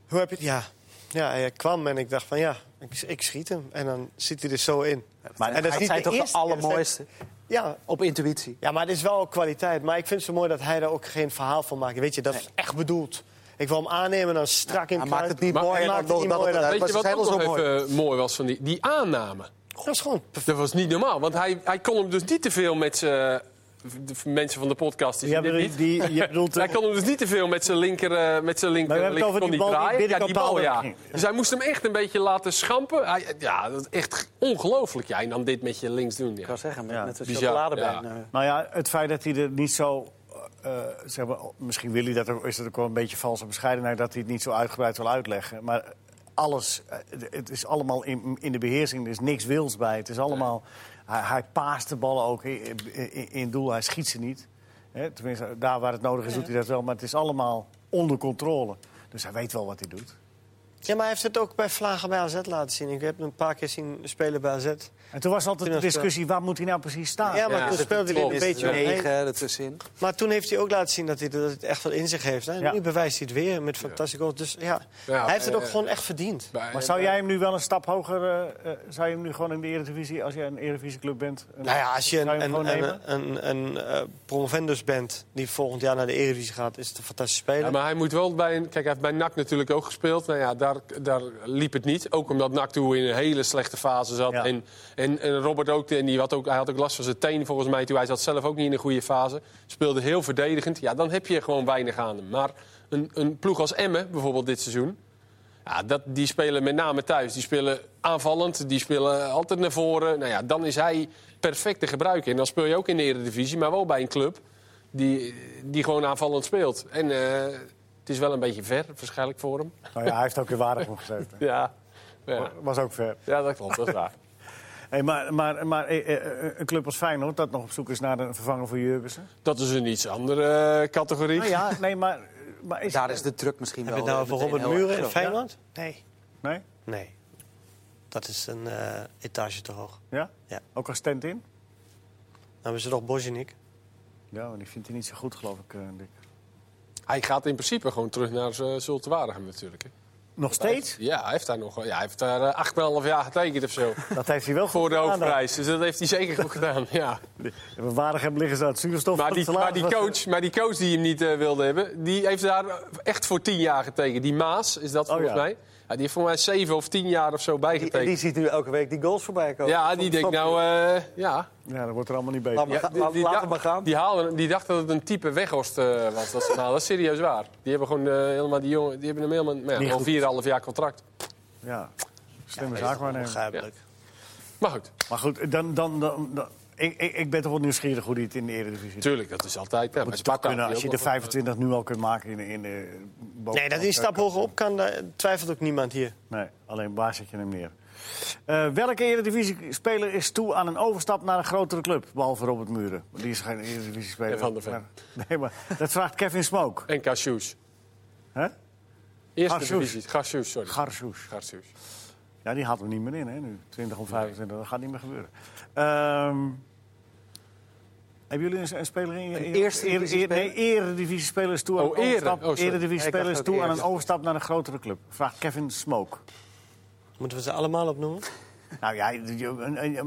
S2: Hoe heb je het? Ja. ja, hij kwam en ik dacht van ja, Ik, ik schiet hem en dan zit hij er zo in.
S3: Maar
S2: en dat is
S3: hij
S2: niet
S3: zei
S2: de
S3: toch de
S2: eerste keer, dat is-
S3: allermooiste
S2: Ja,
S3: op intuïtie.
S2: ja, maar het is wel kwaliteit. Maar ik vind het zo mooi dat hij daar ook geen verhaal van maakt. Weet je, dat is echt bedoeld. Ik wil hem aannemen en dan strak in
S3: Hij maakt het niet
S4: Maar-
S3: mooi.
S2: Hij
S3: en
S2: maakt
S3: dan
S2: het
S3: nog
S2: niet
S3: dat
S2: mooi,
S3: het-
S2: dat-
S4: Weet
S3: het
S4: je
S3: was
S4: wat ook
S1: dus
S3: helemaal
S4: nog
S3: zo mooi.
S4: even mooi was van die, die aanname?
S2: Dat is gewoon perfect.
S4: Dat was niet normaal, want hij, hij kon hem dus niet te veel met zijn... de mensen van de podcast die
S1: Je,
S4: zien dit
S1: bedoelt,
S4: niet.
S1: die, je bedoelt...
S4: Hij kon hem dus niet te veel met zijn linker, eh, met zijn linker,
S1: Maar we hebben het
S4: linker
S1: over die
S4: kon
S1: bal
S4: niet
S1: die
S4: draaien. ja,
S1: binnenkant
S4: die bal,
S1: paal
S4: ja.
S1: ging.
S4: Dus hij moest hem echt een beetje laten schampen. Hij, ja, dat is echt ongelooflijk. Ja, en dan dit met je links doen.
S3: Ik
S4: Ja.
S3: kan zeggen, met,
S1: Ja.
S3: met een
S4: Bizar,
S3: chocoladebeen. eh.
S1: Nou ja, het feit dat hij er niet zo... eh, zeg maar, misschien wil hij dat ook, is dat ook wel een beetje valse bescheidenheid... dat hij het niet zo uitgebreid wil uitleggen. Maar alles, eh, het is allemaal in, in de beheersing. Er is niks wils bij. Het is allemaal... Hij, hij paast de ballen ook in, in, in doel. Hij schiet ze niet. Hè, tenminste, daar waar het nodig is doet hij dat wel. Maar het is allemaal onder controle. Dus hij weet wel wat hij doet.
S2: Ja, maar hij heeft het ook bij Vlagen bij AZ laten zien. Ik heb hem een paar keer zien spelen bij AZ.
S1: En toen was altijd de discussie, waar moet hij nou precies staan?
S2: Ja, maar
S4: Ja,
S2: toen
S4: dat
S2: speelde hij er een
S4: klopt.
S2: beetje
S4: Ja.
S2: omheen.
S3: Negen, dat is in.
S2: Maar toen heeft hij ook laten zien dat hij dat het echt wel in zich heeft. En
S1: Ja.
S2: nu bewijst hij het weer met fantastische goals. Dus ja,
S4: Ja,
S2: hij heeft het ook
S4: eh,
S2: gewoon echt verdiend.
S1: Maar zou jij hem nu wel een stap hoger... eh, eh, zou je hem nu gewoon in de Eredivisie, als jij een Eredivisieclub bent... een-
S2: Nou ja, als je
S1: zou
S2: een,
S1: hem
S2: een,
S1: gewoon nemen?
S2: een, een, een, eh, promovendus bent die volgend jaar naar de Eredivisie gaat... is het een fantastische speler.
S4: Ja, maar hij moet wel bij een, Kijk, hij heeft bij NAC natuurlijk ook gespeeld. Nou ja, daar, daar liep het niet. Ook omdat NAC toen in een hele slechte fase zat.
S1: Ja.
S4: En, en, en Robert ook, en die had ook, hij had ook last van zijn teen volgens mij. Toen hij zat zelf ook niet in een goede fase. Speelde heel verdedigend. Ja, dan heb je gewoon weinig aan hem. Maar een, een ploeg als Emmen bijvoorbeeld dit seizoen. Ja, dat, die spelen met name thuis. Die spelen aanvallend, die spelen altijd naar voren. Nou ja, dan is hij perfect te gebruiken. En dan speel je ook in de Eredivisie, maar wel bij een club die, die gewoon aanvallend speelt. En eh, het is wel een beetje ver, waarschijnlijk voor hem.
S1: Nou ja, hij heeft ook weer waardig opgezeten.
S4: Ja, ja.
S1: Was ook ver.
S4: ja dat klopt, dat is waar.
S1: Hey, maar maar, maar eh, eh, eh, een club als Feyenoord, dat nog op zoek is naar een vervanger voor Jurgensen.
S4: Dat is een iets andere eh, categorie.
S1: Nou ja, nee, maar... maar is,
S3: Daar is de druk misschien
S2: Heb je
S3: wel.
S2: het nou
S3: eh,
S2: over
S3: meteen
S2: Robert
S3: heel erg
S2: Muren in
S3: groot.
S2: Feyenoord? Nee.
S1: Nee?
S2: Nee. Dat is een eh, etage te hoog.
S1: Ja?
S2: Ja.
S1: Ook als stand in?
S2: Nou, we zijn toch Bojanik.
S1: Ja, maar die vindt hij niet zo goed, geloof ik, eh, Dick.
S4: Hij gaat in principe gewoon terug naar eh, Zulte Waregem natuurlijk. hè.
S1: Nog steeds?
S4: Ja, hij heeft daar nog... Ja, hij heeft daar eh, 8,5 jaar getekend of zo.
S1: Dat heeft hij wel goed
S4: Voor de
S1: gedaan,
S4: hoofdprijs. Dus dat heeft hij zeker goed gedaan, ja.
S1: dan. We waren hem liggen ze aan het zuurstof.
S4: Maar
S1: van
S4: die,
S1: het salaris
S4: maar, die
S1: wat-
S4: coach, maar die coach die hem niet eh, wilde hebben, die heeft daar echt voor tien jaar getekend. Die Maas, is dat
S1: Oh,
S4: volgens
S1: ja.
S4: mij? Ja, die heeft voor mij zeven of tien jaar of zo
S2: Die,
S4: bijgetekend.
S2: die ziet nu elke week die goals voorbij komen.
S4: ja, die denkt nou, eh, ja.
S1: Ja, dat wordt er allemaal niet beter.
S2: Laat maar,
S4: ja
S2: ga- laat- laat
S4: dacht-
S2: hem maar gaan.
S4: Die, haalde, die dacht dat het een type Weghorst eh, was. Dat, is- nou, dat is serieus waar. Die hebben gewoon eh, helemaal die jongen, die hebben hem helemaal maar
S1: Niet
S4: ja, al
S1: goed.
S4: 4,5 jaar contract.
S1: Ja, slimme
S2: Is
S1: zaak waarnemen.
S2: Onbegrijpelijk.
S4: Maar goed,
S1: Maar goed, dan... dan, dan, dan- ik, ik, ik ben toch wel nieuwsgierig hoe die het in de Eredivisie doet.
S4: natuurlijk, dat is altijd. Ja,
S1: Moet
S4: maar
S1: je toch
S4: Sparta,
S1: kunnen,
S4: die
S1: als je
S4: ook
S1: de
S4: nog-
S1: 25 nu al kunt maken in de... In de boven-
S2: Nee, dat hij een stap hoger op kan, daar twijfelt ook niemand hier.
S1: Nee, alleen waar zet je hem neer? Eh, welke Eredivisie-speler is toe aan een overstap naar een grotere club? Behalve Robert Muren. Die is geen Eredivisie-speler.
S4: En Van der Ven.
S1: Maar- Nee, maar dat vraagt Kevin Smoke.
S4: En Cassius.
S1: hè?
S4: Eerste
S1: Garcious.
S4: divisie. Cassius, sorry.
S1: Garsoes.
S4: Garcius.
S1: Ja, die had hem niet meer in, hè, nu. 20 of 25, dat gaat niet meer gebeuren. Ehm, hebben jullie een, een speler in je...
S3: Een
S1: in-
S3: eerste
S1: eer- eer-
S3: divisiespeler?
S1: Nee, Eredivisie-speler is toe aan
S4: Oh,
S1: een overstap...
S4: ere. Oh, sorry.
S1: Eredivisie-speler
S3: Ja,
S1: is
S3: ik dacht
S1: toe
S3: ook
S1: aan een
S3: ere.
S1: overstap naar een grotere club. Vraagt Kevin Smoke.
S2: Moeten we ze allemaal opnoemen?
S1: Nou ja,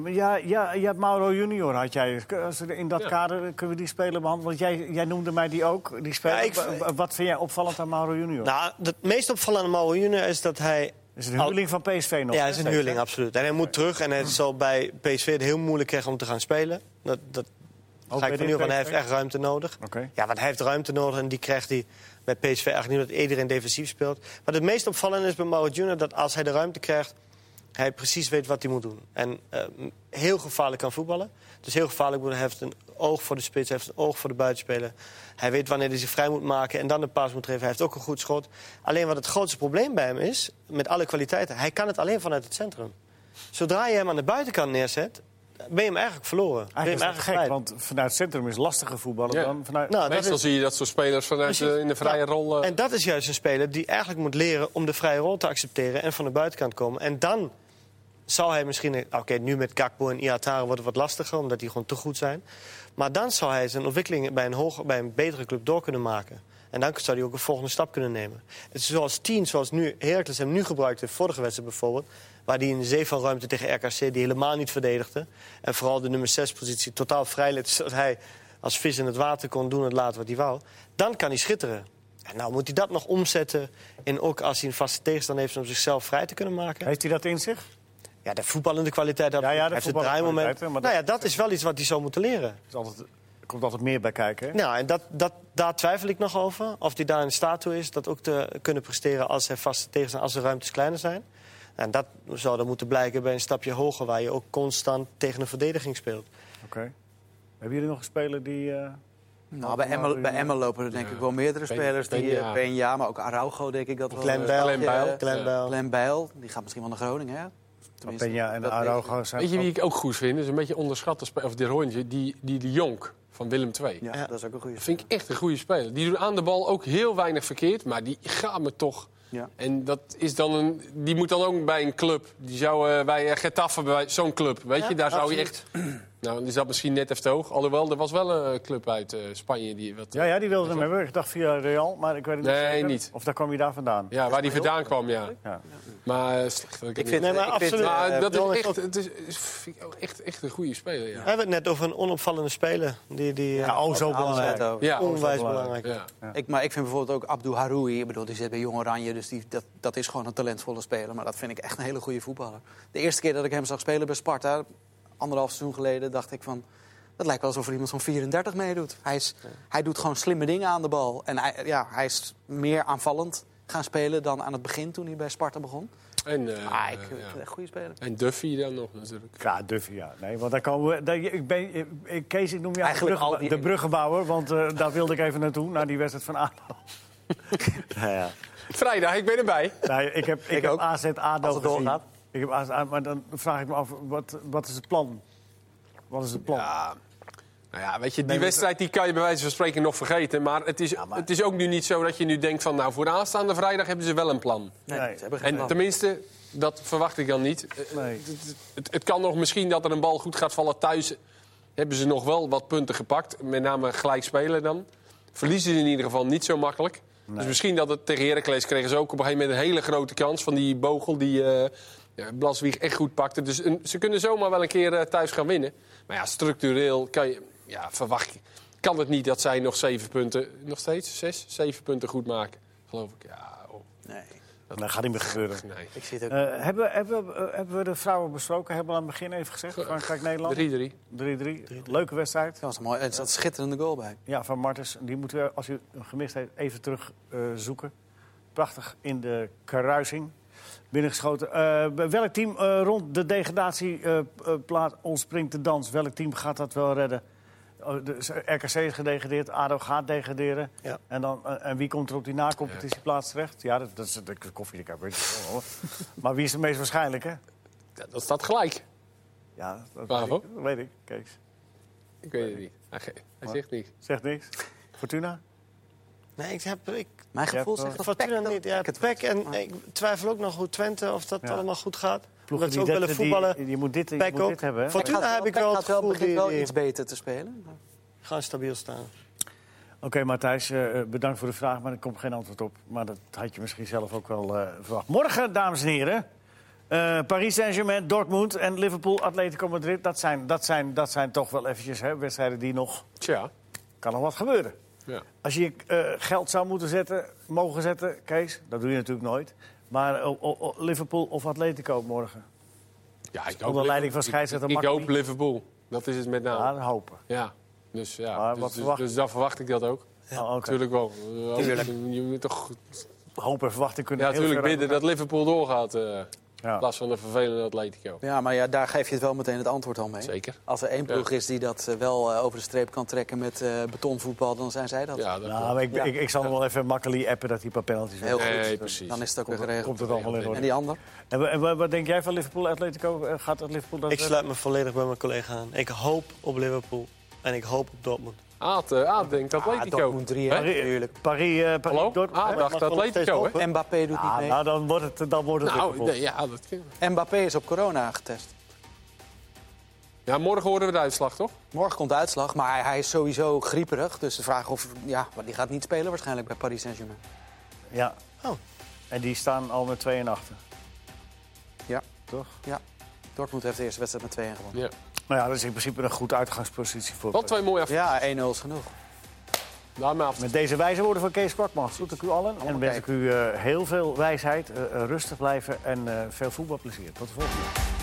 S1: ja, ja, ja, Mauro Junior had jij. Als we In dat
S4: Ja.
S1: kader kunnen we die speler behandelen. Want jij, jij noemde mij die ook. Die speler.
S2: Ja, ik-
S1: Wa- wa- Wat vind jij opvallend aan Mauro Junior?
S2: Nou, het meest opvallende aan Mauro Junior is dat hij...
S1: is het een huurling van PSV nog? hè,
S2: Ja, hij is een
S1: steeds,
S2: huurling,
S1: hè?
S2: absoluut. En hij moet terug en hij zal bij PSV het heel moeilijk krijgen om te gaan spelen. Dat, dat
S1: Ook
S2: ga
S1: bij
S2: ik van
S1: dit
S2: u van, hij
S1: PSV?
S2: heeft echt ruimte nodig.
S1: Oké.
S2: Ja, want hij heeft ruimte nodig en die krijgt hij bij PSV eigenlijk niet... omdat iedereen defensief speelt. Maar het meest opvallende is bij Mauro Junior dat als hij de ruimte krijgt... hij precies weet wat hij moet doen. En eh, heel gevaarlijk kan voetballen. Dus heel gevaarlijk wordt. Hij heeft een oog voor de spits, hij heeft een oog voor de buitenspeler. Hij weet wanneer hij zich vrij moet maken en dan de paas moet geven. Hij heeft ook een goed schot. Alleen wat het grootste probleem bij hem is, met alle kwaliteiten... hij kan het alleen vanuit het centrum. Zodra je hem aan de buitenkant neerzet, ben je hem eigenlijk verloren. Ben je hem
S1: Eigenlijk is dat gek,
S2: kwijt.
S1: want vanuit het centrum is lastiger voetballen
S4: Ja.
S1: dan vanuit...
S2: Nou, dat
S4: Meestal
S2: is-
S4: zie je dat soort spelers vanuit
S2: Precies.
S4: eh, in de vrije
S2: Nou,
S4: rol... eh,
S2: En dat is juist een speler die eigenlijk moet leren om de vrije rol te accepteren en van de buitenkant komen. En dan zou hij misschien. eh, Oké, nu met Kakpo en Iatare wordt het wat lastiger, omdat die gewoon te goed zijn. Maar dan zou hij zijn ontwikkeling bij een, hoger, bij een betere club door kunnen maken. En En dan zou hij ook een volgende stap kunnen nemen. Het is zoals tien, zoals nu Heracles hem nu gebruikte, in de vorige wedstrijd bijvoorbeeld... waar hij een zee van ruimte tegen RKC, die helemaal niet verdedigde... en vooral de nummer 6-positie totaal vrij liet... zodat hij als vis in het water kon doen en laten wat hij wou. Dan kan hij schitteren. En nou moet hij dat nog omzetten in ook als hij een vaste tegenstander heeft... om zichzelf vrij te kunnen maken.
S1: Heeft hij dat in zich?
S2: Ja, de voetballende kwaliteit, dat
S1: Ja, ja, de
S2: heeft het
S1: voetballende
S2: draaimoment.
S1: kwaliteit, hè, maar
S2: nou ja,
S1: dat-
S2: dat is wel iets wat hij zou moeten leren.
S1: Er is altijd- er komt altijd meer bij kijken. hè?
S2: Nou, en dat, dat, daar twijfel ik nog over. Of hij daar in staat toe is dat ook te kunnen presteren als er vaste tegenstanders, als de ruimtes kleiner zijn. En dat zou dan moeten blijken bij een stapje hoger, waar je ook constant tegen een verdediging speelt.
S4: Oh,
S1: Oké. Hebben jullie nog een speler die... eh,
S3: Nou, bij
S4: eh,
S3: Emmen, bij Emmen lopen er denk ik wel meerdere
S4: Ben-
S3: spelers. die,
S4: Benja.
S3: eh, Benja, maar ook Araujo denk ik dat wel.
S2: Glenn
S3: eh,
S2: Bijl.
S4: Glenn Bijl.
S3: eh,
S2: Glenn
S4: Ja.
S2: Bijl.
S3: Glenn Bijl, die gaat misschien wel naar Groningen, hè? Tenminste,
S1: Peña en
S3: dat
S1: Araujo zijn...
S4: Weet je wie ik ook goed vind? Dat is een beetje onderschatte speler. Of de Roontje, die, die de Jonk van Willem II.
S3: Ja,
S2: Ja.
S3: dat is ook een goede.
S4: Dat vind ik echt een goede speler. Die doet aan de bal ook heel weinig verkeerd, maar die gaat me toch.
S3: Ja.
S4: En dat is dan een, die moet dan ook bij een club. Die zou eh, bij eh, Getafe, bij zo'n club, weet je, daar zou je echt... Nou, dan is dat misschien net even te hoog. Alhoewel, er was wel een club uit eh, Spanje die... Wat,
S1: Ja, ja, die wilde hem hebben. Ik dacht via Real, maar ik weet het niet
S4: Nee,
S1: zeker.
S4: niet.
S1: Of daar kwam je daar vandaan.
S4: Ja, waar die vandaan kwam, ja.
S1: Ja.
S4: Maar eh, slecht. dat Ik, het
S2: vind-
S4: niet-
S2: Nee, maar
S3: ik vind-
S2: absoluut.
S4: maar
S2: eh,
S4: dat
S2: Bjorn
S4: is
S2: is
S4: echt,
S2: ook-
S4: het is, is- vind ik ook echt, echt een goede speler,
S2: We
S4: ja.
S2: hebben het net over een onopvallende speler. Die, die, eh,
S1: Ja, oh, zo
S3: Alles
S1: belangrijk.
S3: uit over.
S4: Ja, ja.
S2: onwijs
S1: belangrijk.
S2: belangrijk.
S3: Ik, maar ik vind bijvoorbeeld ook Abdou Haroui, ik bedoel, die zit bij Jong Oranje, dus die, dat, dat is gewoon een talentvolle speler. Maar dat vind ik echt een hele goede voetballer. De eerste keer dat ik hem zag spelen bij Sparta, anderhalf seizoen geleden, dacht ik van... Dat lijkt wel alsof er iemand van 34 meedoet. Hij, is, hij doet gewoon slimme dingen aan de bal. En hij, ja, hij is meer aanvallend gaan spelen dan aan het begin toen hij bij Sparta begon.
S4: En, eh,
S3: ah, ik vind
S4: ja.
S3: het echt een goede speler.
S4: en Duffy dan nog, natuurlijk.
S1: Ja, Duffy, ja. Nee, want daar komen we, daar- ik ben, ik, Kees, ik noem jou
S3: Eigenlijk
S1: de, bruggenba-
S3: al die-
S1: de bruggenbouwer, want eh, daar wilde ik even naartoe, naar die wedstrijd van ADO.
S4: Vrijdag, ik ben erbij.
S1: Nee, ik heb, ik
S3: Ik
S1: heb
S3: ook.
S1: AZ ADO
S3: Als het
S1: gezien.
S3: doorgaat.
S1: Ik heb AZ, maar dan vraag ik me af, wat, wat is het plan? Wat is het plan?
S4: Ja. Nou ja, weet je, die
S1: Nee, maar-
S4: wedstrijd die kan je bij wijze van spreken nog vergeten. Maar het, is,
S1: maar-
S4: het is ook nu niet zo dat je nu denkt van... nou, voor de aanstaande vrijdag hebben ze wel een plan.
S3: Nee,
S1: Nee.
S3: ze hebben geen
S4: En
S3: plan.
S4: tenminste, dat verwacht ik dan niet. Eh,
S1: Nee.
S4: Het, het kan nog misschien dat er een bal goed gaat vallen thuis. Hebben ze nog wel wat punten gepakt. Met name gelijk spelen dan. Verliezen ze in ieder geval niet zo makkelijk. Dus misschien dat het tegen Heracles kregen ze ook op een gegeven moment een hele grote kans van die Bogel die eh, ja, Blaswieg echt goed pakte. Dus een- ze kunnen zomaar wel een keer eh, thuis gaan winnen. Maar ja, structureel kan je, ja, verwacht je. Kan het niet dat zij nog zeven punten, nog steeds zes, zeven punten goed maken? Geloof ik. Ja, oh,
S3: Nee,
S1: dat gaat niet meer gebeuren.
S4: nee.
S3: ik zie het ook
S1: Eh, hebben, we- hebben, we- eh, hebben we de vrouwen besproken? Hebben we aan het begin even gezegd? Frankrijk-Nederland 3-3.
S4: 3-3.
S1: Leuke wedstrijd.
S3: Dat was een mooi. Er zat een schitterende goal bij.
S1: Ja, van Martens. Die moeten we, als u hem gemist heeft, even terugzoeken. zoeken. Prachtig in de kruising. Binnengeschoten. Eh, bij welk team eh, rond de eh, degradatieplaat ontspringt de dans? Welk team gaat dat wel redden? Oh, de- RKC is gedegradeerd, ADO gaat degraderen.
S2: Ja.
S1: En, dan, eh, en wie komt er op die nacompetitieplaats terecht? Ja, dat, dat is de koffie. Ik heb weet ik wel, hoor. maar wie is het meest waarschijnlijk, hè?
S4: Ja, dat staat gelijk.
S1: Ja, dat weet ik,
S4: Bravo.
S1: dat weet ik. Kees,
S4: Ik weet het niet. Hij, ge- hij zegt niks.
S1: zegt niks. Fortuna?
S2: Nee, ik heb ik,
S3: Mijn
S1: Ja,
S3: gevoel
S1: wel.
S3: zegt dat
S2: Fortuna
S3: Peck dat-
S2: niet. Ja, het pek. En ik twijfel ook nog hoe Twente of dat
S1: Ja.
S2: allemaal goed gaat.
S1: Ploegen
S2: Omdat ze
S1: die
S2: ook
S1: dat-
S2: willen voetballen.
S1: Die, je moet dit, je
S2: Peck
S1: moet
S2: ook.
S1: dit hebben. hè?
S2: Voor- Fortuna
S3: Peck gaat
S2: heb ik
S3: Peck
S2: wel het
S3: gaat wel
S2: gevoel
S3: begint
S2: die-
S3: wel
S2: die-
S3: iets beter te spelen. maar-
S2: Gaan stabiel staan.
S1: Oké, Matthijs, eh, bedankt voor de vraag, maar er komt geen antwoord op. Maar dat had je misschien zelf ook wel eh, verwacht. Morgen, dames en heren, eh, Paris Saint-Germain, Dortmund en Liverpool, Atletico Madrid. Dat zijn, dat zijn, dat zijn toch wel eventjes hè, wedstrijden die nog...
S4: Tja.
S1: Kan nog wat gebeuren.
S4: Ja.
S1: Als je eh, geld zou moeten zetten, mogen zetten, Kees, dat doe je natuurlijk nooit. Maar eh, o- o- Liverpool of Atletico morgen?
S4: Ja, ik
S1: Onder leiding van
S4: ik-
S1: scheidsrechter
S4: Ik, ik hoop
S1: Makkeli.
S4: Liverpool. Dat is het met
S1: Ja,
S4: name.
S1: dat hopen.
S4: Ja. Dus ja,
S1: Maar
S4: dus,
S1: wat
S4: dus,
S1: verwacht-
S4: dus dan verwacht ik dat ook.
S1: Oh, oké.
S4: Natuurlijk wel. Eh, Je, je moet toch
S1: Hoop en verwachten kunnen
S4: ja,
S1: heel
S4: natuurlijk
S1: ver
S4: bidden dat Liverpool doorgaat. eh,
S1: Ja.
S4: In plaats van een vervelende Atletico.
S3: Ja, maar ja, daar geef je het wel meteen het antwoord al mee.
S4: Zeker.
S3: Als er één ploeg is die dat eh, wel eh, over de streep kan trekken met eh, betonvoetbal, dan zijn zij dat.
S4: Ja, dat
S1: Nou, maar ik,
S3: Ja.
S1: ik, ik zal hem wel even makkelijk appen dat hij een paar penalties
S3: Heel
S1: heeft.
S3: goed.
S4: Nee, precies.
S3: Dan is het ook weer geregeld.
S1: Komt het allemaal in
S3: En
S1: orde.
S3: die ander?
S1: En, wa- en wa- wat denk jij van Liverpool Atletico? Eh, Gaat dat Liverpool dat
S2: Ik
S1: eh,
S2: sluit me volledig bij mijn collega aan. Ik hoop op Liverpool. En ik hoop op Dortmund.
S4: Aad, eh, Aad denkt Atletico.
S3: Dortmund drie,
S4: Hè?
S3: hè?
S1: Paris,
S3: Natuurlijk.
S1: Paris, eh, Paris
S4: Hallo?
S1: Dortmund,
S4: Aad
S1: hè?
S4: dacht
S2: nog steeds
S4: Atletico, hè?
S2: op,
S3: Mbappé doet
S1: Ah,
S3: niet mee.
S1: nou, dan wordt het, dan wordt het
S4: Nou,
S1: Liverpool.
S4: nee, ja, dat kan.
S3: Mbappé is op corona getest.
S4: Ja, morgen horen we de uitslag, toch?
S3: Morgen komt de uitslag, maar hij, hij is sowieso grieperig. Dus de vraag of... Ja, maar die gaat niet spelen waarschijnlijk bij Paris Saint-Germain.
S1: Ja.
S2: Oh.
S1: En die staan al met 2 en achter.
S3: Ja.
S1: Toch?
S3: Dortmund heeft de eerste wedstrijd met 2-1 gewonnen.
S4: Ja.
S1: Nou ja, dat is in principe een goed uitgangspositie voor.
S4: Wat twee mooie af.
S3: Ja, 1-0 is genoeg.
S4: Laat me af.
S1: Met deze wijze woorden van Kees Kwakman groet ik u allen. En
S3: Allemaal
S1: wens ik
S3: kijk.
S1: u eh, heel veel wijsheid, eh, eh, rustig blijven en eh, veel voetbalplezier. Tot de volgende. keer.